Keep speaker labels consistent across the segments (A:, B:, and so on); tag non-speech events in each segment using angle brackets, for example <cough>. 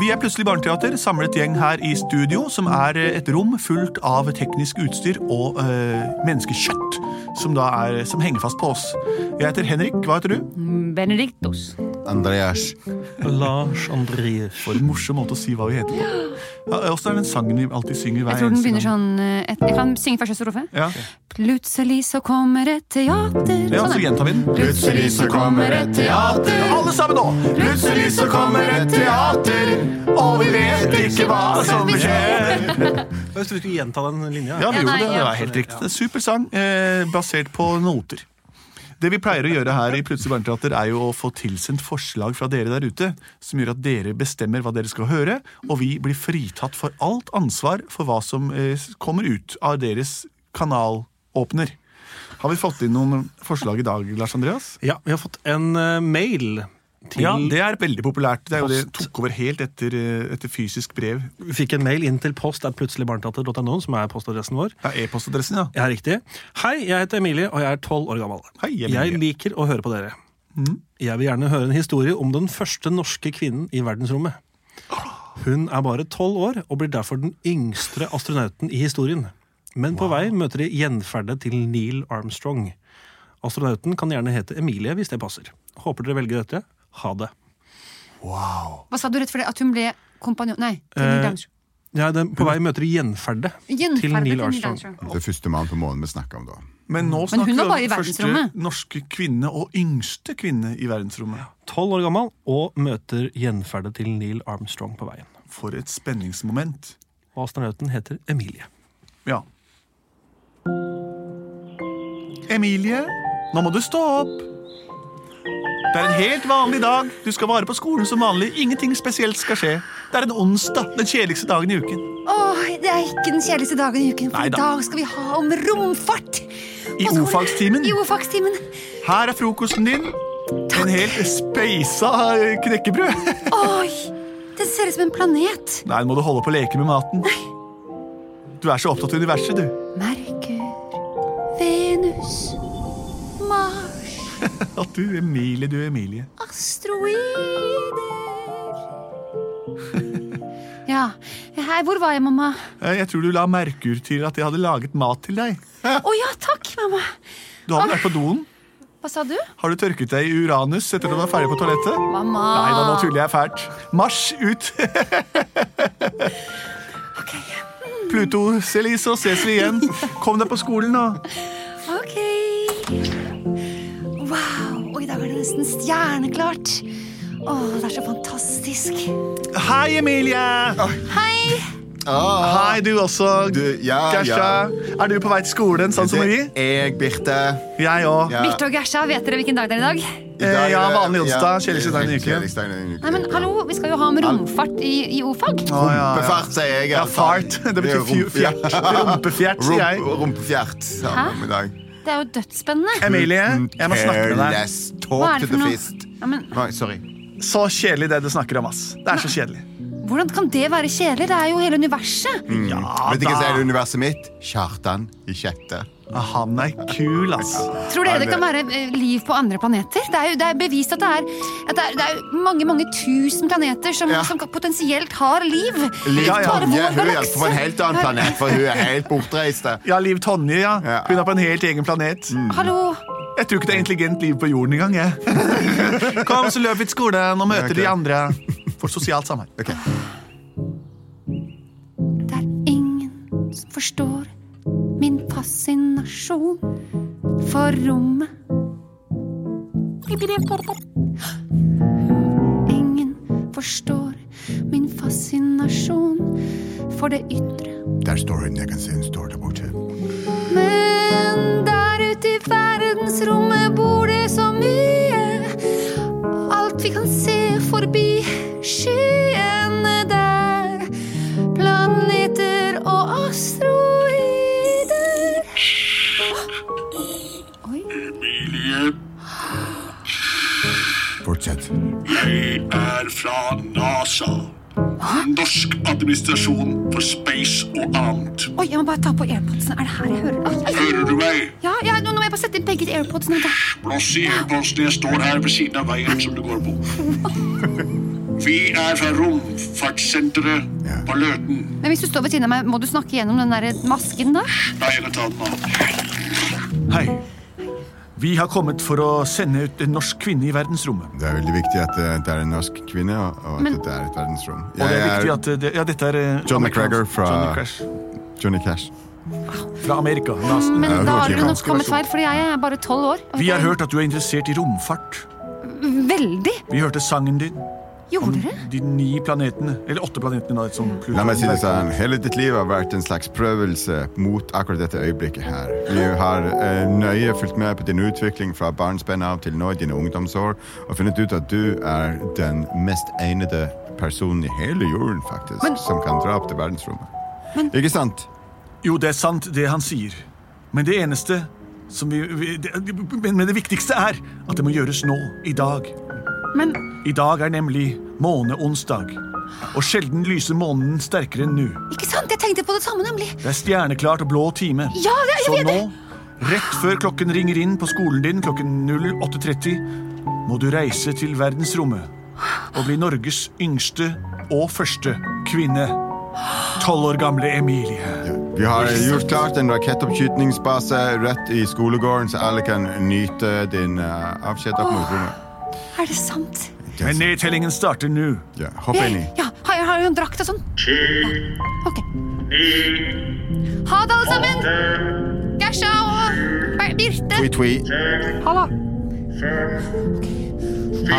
A: Vi er Plutselig Barneteater, samlet gjeng her i studio, som er eh, et rom fullt av teknisk utstyr og øh, menneskekjøtt, som, da er, som henger fast på oss. Jeg heter Henrik, hva heter du?
B: Mm, Benedictus.
A: Mm,
C: Andreas.
D: Lars Andreas.
A: For en morsom måte å si hva vi heter på. Ja, Åssen er den sangen vi alltid synger hver
B: Jeg tror den
A: eneste
B: begynner
A: gang?
B: sånn eh, et, Jeg kan synge første strofe.
A: Ja, Mm.
B: Plutselig så kommer et teater.
A: ja så
B: Sånn, ja.
A: gjentar vi den.
C: Plutselig så kommer et teater.
A: Alle sammen nå!
C: Plutselig så kommer et teater, og vi vet ikke hva som skjer.
D: Jeg trodde vi skulle gjenta den linja.
A: Ja, vi gjorde
B: Ja, nei,
A: det. Det
B: ja.
A: var helt riktig. Det er Supersang eh, basert på noter. Det vi pleier å gjøre her i Plutselig barneteater, er jo å få tilsendt forslag fra dere der ute, som gjør at dere bestemmer hva dere skal høre, og vi blir fritatt for alt ansvar for hva som eh, kommer ut av deres kanalåpner. Har vi fått inn noen forslag i dag, Lars Andreas?
D: Ja, vi har fått en eh, mail til
A: Ja, det er veldig populært. Det er jo det tok over helt etter, eh, etter fysisk brev.
D: Vi fikk en mail inn til post at plutseligbarneteater.no, som er postadressen vår.
A: Ja, E-postadressen, ja.
D: Ja, riktig. Hei, jeg heter Emilie, og jeg er tolv år gammel.
A: Hei, Emilie. Mm.
D: jeg liker å høre på dere. Jeg vil gjerne høre en historie om den første norske kvinnen i verdensrommet. Hun er bare tolv år og blir derfor den yngste astronauten i historien. Men på vei møter de gjenferdet til Neil Armstrong. Astronauten kan gjerne hete Emilie hvis det passer. Håper dere velger dette. Ha det.
B: Hva sa du rett for det? At hun ble kompanjong... Nei. til
D: Eh,
B: Neil Armstrong.
D: Ja, den, på vei møter de gjenferdet
B: Gjenferdet
D: til Neil Armstrong.
C: Det er første mann på månen vi snakker om da.
A: Men nå
B: Men hun
A: snakker vi
B: var
A: om
B: bare i
A: den første
B: verdensrommet.
A: norske kvinne og yngste kvinne i verdensrommet.
D: Tolv år gammel og møter gjenferdet til Neil Armstrong på veien.
A: For et spenningsmoment.
D: Og astronauten heter Emilie.
A: Ja. Emilie, nå må du stå opp. Det er en helt vanlig dag. Du skal vare på skolen som vanlig. Ingenting spesielt skal skje. Det er en onsdag, den kjedeligste dagen i uken.
B: Åh, det er ikke den kjedeligste dagen i uken, for
A: Nei
B: i
A: da.
B: dag skal vi ha om romfart!
A: I
B: På skolen.
A: ordfagstimen.
B: I ordfagstimen.
A: Her er frokosten din. En helt speisa eh, knekkebrød.
B: Oi! Det ser ut som en planet.
A: Nei, nå må du holde på å leke med maten. Du er så opptatt av universet, du.
B: Merkur, Venus, Mars,
A: At du, Emilie, du, Emilie.
B: asteroider Ja. Hei, hvor var jeg, mamma?
A: Eh, Jeg tror du la merke til at jeg hadde laget mat til deg.
B: Å ja, takk, mamma.
A: Du har vel vært på doen?
B: Hva sa du?
A: Har du tørket deg i uranus etter at du var ferdig på toalettet?
B: Mamma.
A: Nei da, nå tuller jeg fælt. Marsj ut! Pluto, Celise, så ses vi igjen. Kom deg på skolen, da.
B: Ok. Wow. Og i dag er det nesten stjerneklart. Å, det er så fantastisk.
A: Hei, Emilie!
B: Hei!
C: Ah,
A: Hei, du også.
C: Du, ja,
A: Gersta. Er du på vei til skolen, sånn som vi?
C: det er jeg, Birte.
A: Jeg òg.
C: Ja.
B: Birte og Gersa, vet dere hvilken dag det er i dag?
C: I dag er
A: Eh, Ja,
C: det-
A: vanlig onsdag, kjedeligste dagen i uken.
C: Kjedeligste dagen i uken.
B: Nei, men hallo, vi skal jo ha om romfart i, i O-fag.
A: Å, ja, ja.
C: Rumpefart, sier jeg. i
A: ja,
C: alle fall.
A: fart. <laughs> Det betyr
C: er
A: fju-
C: rump-
A: fjert. Rumpefjert, sier jeg.
C: Rump- Rumpefjert.
B: Hæ?
C: Samme om i dag.
B: Det er jo dødsspennende.
A: Emilie, jeg må snakke med deg.
C: Careless talk
B: Hva er det
C: to
B: for
C: the
B: noe?
C: fist.
B: Ja, men
C: Nei, sorry.
A: Så kjedelig det du snakker om, ass. Det er så kjedelig.
B: Hvordan kan det være kjedelig? Det er jo hele universet.
A: Ah,
C: Vet du hva som er det universet mitt? Kjartan i kjette.
A: Ah, Han er kul, ass.
B: Tror dere
C: Nei,
B: det kan være eh, liv på andre planeter? Det er jo det er bevist at det er, at det er, det er jo mange mange tusen planeter som,
C: Ja.
B: som potensielt har liv.
C: Liv
A: Ja, ja.
C: Tonje hun er
B: galakse.
C: på en helt annen planet, for hun er helt bortreiste.
A: Ja, Liv Tonje, ja.
C: Ja. Mm.
A: Hun er på en helt egen planet.
B: Hallo!
A: Jeg tror ikke det er intelligent liv på jorden engang.
C: <laughs>
A: jeg. Kom, så løp vi til skolen og møter
C: Ja, ok.
A: de andre for sosialt samvær.
C: Ok.
B: Det er ingen som forstår min fascinasjon for rommet. Ingen forstår min fascinasjon for det ytre.
C: Der står hun. Jeg kan se hun står der borte.
B: Men der ute i verdensrommet bor det så mye. Alt vi kan se forbi skyene, det
E: NASA. Norsk administrasjon for space og annet.
B: Oi, jeg må bare ta på airpodsene. Er det her jeg hører det?
E: Hører du meg?
B: Ja, ja, nå nå må jeg bare sette inn begge airpodsene. Vent da.
E: Blås i airpodsene. Jeg står her ved siden av veien som du går på. Vi er fra romfartssenteret på Løten.
B: Men hvis du står ved siden av meg, må du snakke gjennom den der masken da?
E: Nei, jeg kan ta den av.
A: Hei. Vi har kommet for å sende ut en norsk kvinne i verdensrommet.
C: Det er veldig viktig at eh, det er en norsk kvinne, og og at
B: Men-
C: dette er et verdensrom.
A: Og det
C: Jeg
A: er
C: er
A: viktig at eh, det, Ja, dette er eh, amerikansk-
C: John McGregor fra-
A: Johnny Crash.
C: Johnny Cash.
A: fra Amerika. NASA.
B: Men
C: Ja,
B: da har
C: ok,
B: dere nok
C: ganske
B: kommet
C: versjon.
B: feil, fordi jeg er bare tolv år.
A: Vi har hørt at du er interessert i romfart.
B: Veldig!
A: Vi hørte sangen din.
B: Gjorde dere?
A: Mm, De ni planetene. Eller åtte planetene, da. et sånt Pluto-
C: La meg si det sånn, hele ditt liv har vært en slags prøvelse mot akkurat dette øyeblikket her. Vi har eh, nøye fulgt med på din utvikling fra barnsben av til nå, i dine ungdomsår, og funnet ut at du er den mest egnede personen i hele jorden, faktisk, som kan dra opp til verdensrommet. Ikke sant?
A: Jo, det er sant, det han sier. Men det eneste som vi, vi det, men, men det viktigste er at det må gjøres nå. I dag.
B: Men
A: I dag er nemlig måneonsdag. Og sjelden lyser månen sterkere enn nå.
B: ikke sant? Jeg tenkte på det samme, nemlig.
A: Det er stjerneklart og blå time.
B: Ja, det- jeg
A: Så
B: vet
A: nå,
B: det.
A: rett før klokken ringer inn på skolen din klokken 08.30, må du reise til verdensrommet og bli Norges yngste og første kvinne. Tolv år gamle Emilie.
C: Vi har gjort klart en rakettoppskytningsbase rett i skolegården, så alle kan nyte din uh, avskjed opp mot rommet.
B: Er det sant?
A: Men nedtellingen starter nå.
C: Ja, hopp
B: Jeg,
C: inn i.
B: ja, har jeg, har jeg en drakt og sånn? Ok. Ha det, alle sammen! Gersa og Ber- Birte.
C: Twi-twi.
B: Ha det.
C: Ha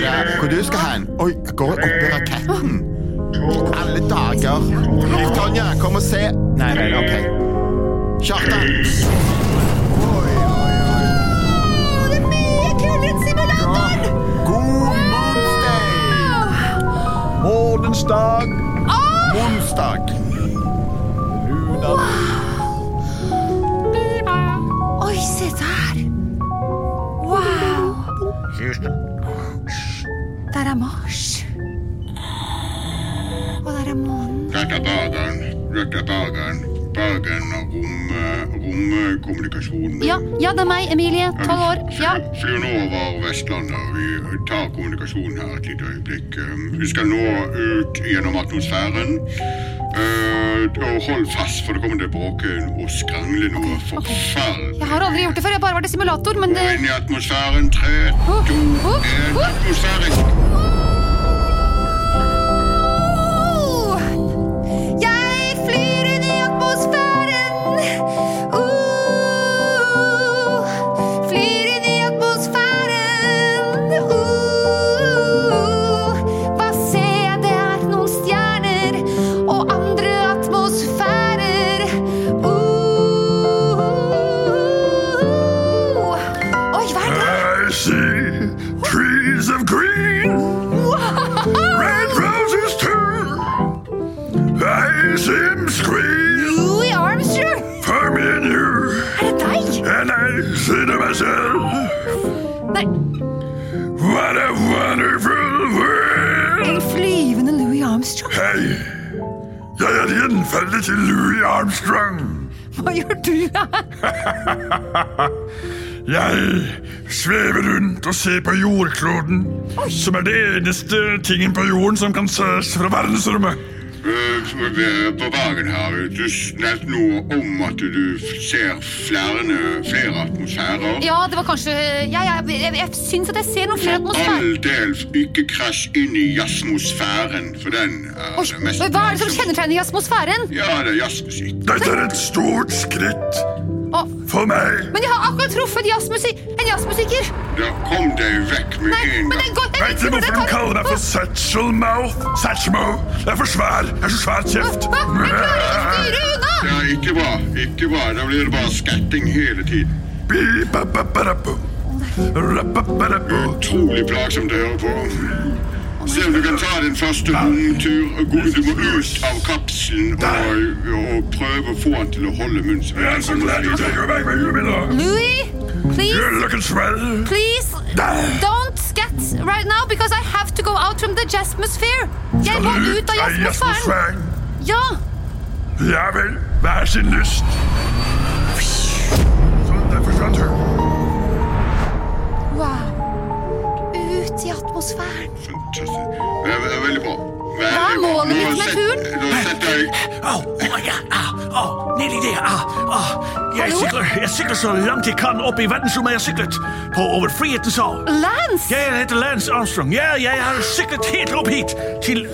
C: det. Hvor du skal hen? Oi, jeg går opp i raketten. Alle dager. Tonje, kom og se. Nei, nei, ok. Kjartan.
B: Det er mye kulere enn simulatoren!
C: God Moonsday!
A: Månens dag.
C: Onsdag.
B: Oi, se der! Wow! Der er Mars. Og der er månen.
E: Dette er dageren. Dette er dageren. Dageren av rom, eh, romkommunikasjonen.
B: Ja, ja, det er meg, Emilie. Tolv år. Ja.
E: Flyr nå over Vestlandet, og vi tar kommunikasjonen her et lite øyeblikk. Um, Vi skal nå ut gjennom atmosfæren. Eh, og hold fast, for det kommer til å bråke og skrangle noe forferdelig.
B: Jeg har aldri gjort det før. Jeg bare var det simulator, men det
E: Inn i atmosfæren. Tre,
B: Oh,
E: to,
B: oh,
E: én.
B: oh.
E: Atmosfærisk!
B: Oh, jeg flyr inn i atmosfæren. Oh, flyr inn i atmosfæren. Oh, hva ser jeg? Det er noen stjerner og andre atmosfærer. Oh, oi, hva er det?
E: I see trees of green, red roses too. I see him scream
B: Louis Armstrong!
E: for me and you,
B: Er det deg?
E: and I say to myself,
B: Nei,
E: what a wonderful world.
B: en flyvende Louis Armstrong.
E: Hei, jeg er gjenfallet til Louis Armstrong.
B: Hva gjør du her?
E: Jeg svever rundt og ser på jordkloden, som er det eneste tingen på jorden som kan ses fra verdensrommet. Uh, På dagen her du nevnte noe om at du ser flere, flere atmosfærer.
B: Ja, det var kanskje ja, ja, Jeg, jeg, jeg syns at jeg ser noen flere atmosfærer.
E: All del ikke krasj inn i jazzmosfæren, for den er
B: Oi,
E: den mest
B: Hva er det som kjennetegner atmosfæren?
E: Ja, det er jazzmusikk. Dette er et stort skritt
B: Å,
E: for meg.
B: men jeg har akkurat truffet jazzmusik en jazzmusiker!
E: Da kom deg vekk med
B: Nei,
E: en
B: men
E: gang.
B: den går den
E: Vet du
B: den
E: hvorfor
B: tar-
E: de kaller meg for
B: Å,
E: Satchelmouth? Satchmo. Jeg er for svær. Jeg er så svær kjeft.
B: å, Jeg klarer ikke å styre unna!
E: Ja, ikke bra. Ikke bra. Da blir det bare skatting hele tiden. Utrolig plagsomt å høre på. Se om du kan ta din første rundtur. og gå- Du må ut av kapselen og, og prøve å få han til å holde munnen sin. Jeg er så glad du tar meg med huet mitt.
B: Louis, please,
E: looking swell.
B: please, don't scat right now because I have to go out from the jasmosphere. Jeg må ut av jasmosfæren. Ja,
C: Ja vel, hver sin lyst. Sånn, der forsvant hun.
B: wow. Ut i atmosfæren.
C: Fantastisk. Det er, det er veldig bra. Veldig
B: Hva er
C: bra.
B: målet
C: Nå
B: ditt med
C: sett-
B: turen?
C: Nå setter jeg
E: Au, oh my god, au, au, nedi der, au, au. Jeg
B: Hallo?
E: sykler, jeg sykler så langt jeg kan opp i verdensrommet jeg har syklet. På over frihetens hav.
B: Lance!
E: Jeg heter Lance Armstrong. Ja, jeg har syklet helt opp hit. Til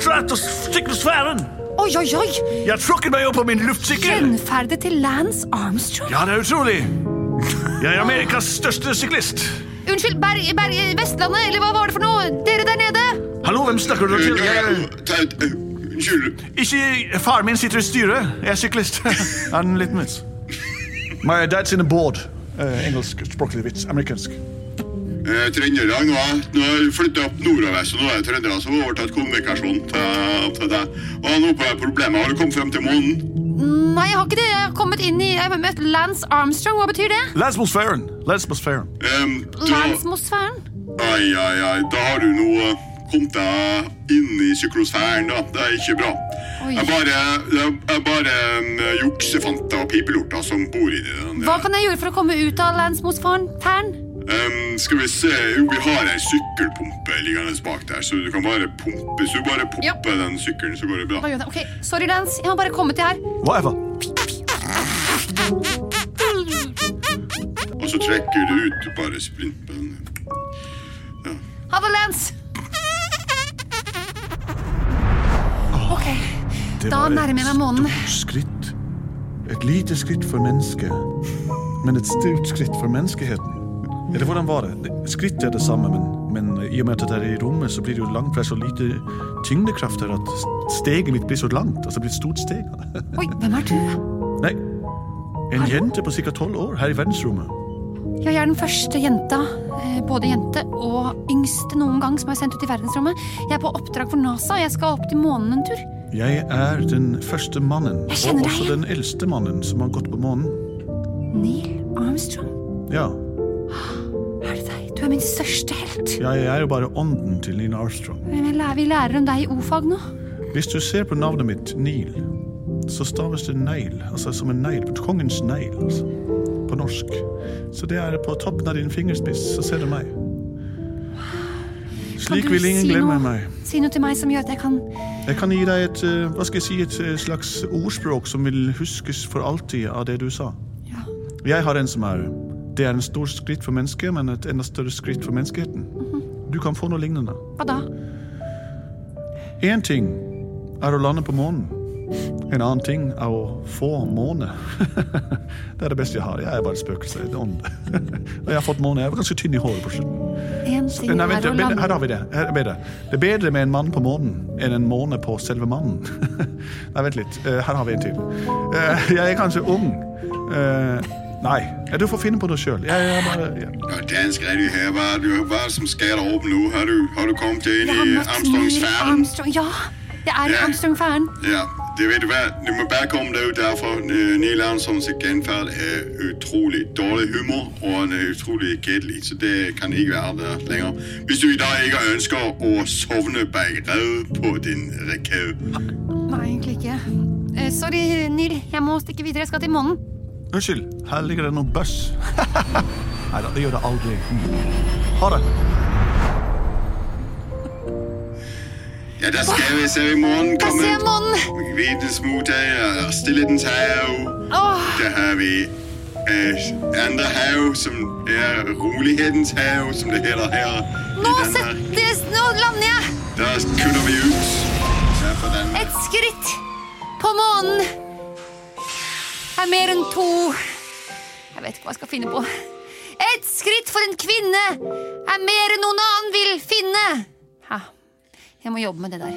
E: stratosfæren.
B: Oi, oi, oi.
E: Jeg har trukket meg opp på min luftsykkel.
B: Gjenferdet til Lance Armstrong.
E: Ja, det er utrolig. Jeg er Amerikas største syklist.
B: Unnskyld, Berg... Berg... Vestlandet, eller hva var det for noe? Dere der nede?
E: Hallo, hvem snakker du til? Jeg-
C: Taut, eh, Unnskyld.
A: Ikke faren min sitter i styret. Jeg er <laughs> syklist. er den en liten vits? My dad's in a board. Uh, Engelskspråklig vits. Amerikansk.
C: Eh, Trønderne nå er- nå har jeg flyttet opp nordover, så nå er det trøndere som har overtatt kommunikasjonen til, til deg. Og han oppe har problemet. Har du kommet frem til månen?
B: Nei, jeg har ikke det. Jeg har kommet inn i... Jeg har møtt Lance Armstrong. Hva betyr det?
A: Lesbosfæren. Lesbosfæren.
C: Em, da,
B: Landsmosfæren.
C: ai, ai, ai, da har du nå eh, kommet deg inn i syklosfæren, da. Det er ikke bra.
B: Oi.
C: Jeg bare, jeg, jeg bare em, juksefanter og pipelorter som bor i den.
B: Hva kan jeg gjøre for å komme ut av landsmosfæren? Færen?
C: Em, Um, skal vi se Jo, vi har ei sykkelpumpe liggende bak der, så du kan bare pumpe. Hvis du bare pumper
B: Ja.
C: den sykkelen, så går det bra.
B: Hva gjør jeg? Ok, sorry, Lance. Jeg har bare kommet til her.
A: Whatever.
C: Og så trekker du ut bare splintbønnen.
B: Ha det, Lance. Ok,
A: Det
B: da
A: var et
B: nærmer jeg meg månen.
A: stort Skritt. Et lite skritt for mennesket, men et stort skritt for menneskeheten. Eller hvordan var det? Det- Skritt er det samme, men, men eh, i og med at det er i rommet, så blir det jo langt, for det er så lite tyngdekraft her at steget mitt blir så langt. Altså det blir et stort steg. <laughs>
B: Oi, hvem er du?
A: Nei, en jente på ca. tolv år her i verdensrommet.
B: Ja, Jeg er den første jenta, eh, både jente og yngste noen gang, som er sendt ut i verdensrommet. Jeg er på oppdrag for NASA, og jeg skal opp til månen en tur.
A: Jeg er den første mannen,
B: Jeg
A: og
B: kjenner deg
A: også
B: igjen.
A: den eldste mannen som har gått på månen.
B: Neil Armstrong,
A: Ja,
B: er det deg? Du er min største helt.
A: jeg er jo bare ånden til Neil Armstrong.
B: Vi lærer, vi lærer om deg i o-fag nå.
A: Hvis du ser på navnet mitt, Neil, så staves det negl, altså som en negl, kongens negl, altså, på norsk. Så det er på toppen av din fingerspiss, så ser du meg.
B: Kan
A: Slik
B: du
A: vil ingen
B: si
A: glemme
B: noe-
A: meg.
B: Si noe til meg som gjør at jeg kan
A: Jeg kan gi deg et, eh, hva skal jeg si, et eh, slags ordspråk som vil huskes for alltid av det du sa.
B: Ja.
A: Jeg har en som er Det er en stor skritt for mennesket, men et enda større skritt for menneskeheten.
B: Mhm.
A: Du kan få noe lignende.
B: Hva da?
A: Én ting er å lande på månen. En annen ting er å få måne. <laughs> det er det beste jeg har. Jeg er bare et spøkelse. En ånd. <laughs> Og jeg har fått måne. Jeg var ganske tynn i håret på slutten.
B: En ting
A: Nei, vent,
B: er å
A: bedre, her
B: lande
A: har vi det. Her er bedre. Det er bedre med en mann på månen enn en måne på selve mannen. <laughs> nei, vent litt. Eh, Her har vi en til. Eh, Jeg er kanskje ung. Eh, Nei. Ja, Du får finne på noe sjøl. Jeg er bare ja.
C: Ja, den skal du her. Hva er, du, hva er det som skjer der oppe nå? Har du, har du kommet deg inn
B: Jeg har
C: i
B: møtt
C: Armstrongs
B: Neil
C: verden?
B: Armstrong. Ja, jeg er i
C: Ja.
B: Armstrong-færen.
C: Ja, det vet du hva. Du må bare komme deg ut derfra. Eh, Neil Armstrongs genferd er utrolig dårlig humor, og han er utrolig kjedelig, så det kan ikke være der lenger. Hvis du i dag ikke ønsker å sovne bak red på din rekke.
B: Nei, egentlig ikke. Eh, Sorry, Neil. Jeg må stikke videre. Jeg skal til månen.
A: Unnskyld, her ligger det noe bøss. <laughs> Nei da, det gjør det aldri. Hm. Ha det.
C: Ja, der skal vi se i morgen
B: Jeg
C: komme.
B: ser månen!
C: Vitens mottager og stillhetens hav.
B: Åh,
C: Der har vi eh, andre hav, som er rolighedens hav, som det heter her. i
B: nå,
C: Danmark.
B: set, det, nå lander jeg!
C: Der kutter vi ut. Ja, for Danmark.
B: Et skritt på månen er mer enn to Jeg vet ikke hva jeg skal finne på. Et skritt for en kvinne er mer enn noen annen vil finne. Ha. Jeg må jobbe med det der.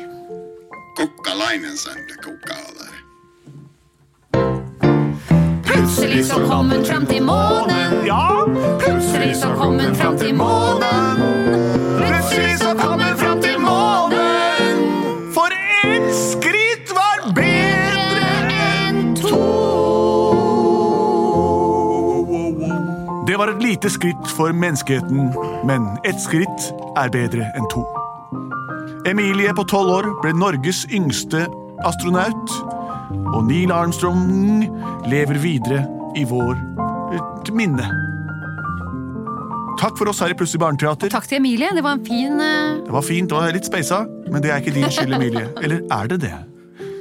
C: Kokkaleinen som det koker av der.
B: Plutselig så kom hun fram til månen.
A: Ja,
B: Plutselig så kom hun fram til månen. Plutselig så kom hun fram til månen.
A: for ett skritt var bedre!
B: Bedre enn to.
A: Det var var et lite skritt for menneskeheten, men ett skritt er bedre enn to. Emilie på tolv år ble Norges yngste astronaut, og Neil Armstrong lever videre i vår eh, minne. Takk for oss her i Plutselig barneteater.
B: Takk til Emilie. Det var en fin eh,
A: Det var fint og litt speisa, men det er ikke din skyld, Emilie. Eller er det det?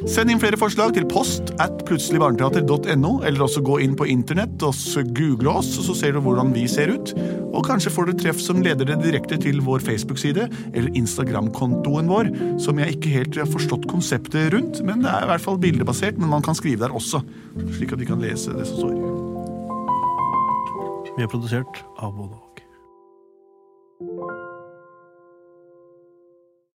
A: Send inn flere forslag til post at plutseligbarneteater.no, eller også gå inn på internett og s- google oss, og så ser du hvordan vi ser ut. Og kanskje får du treff som leder deg direkte til vår Facebook-side eller Instagram-kontoen vår, som jeg ikke helt har forstått konseptet rundt, men det er i hvert fall bildebasert, men man kan skrive der også, slik at vi kan lese det som står.
D: Vi er produsert av både og.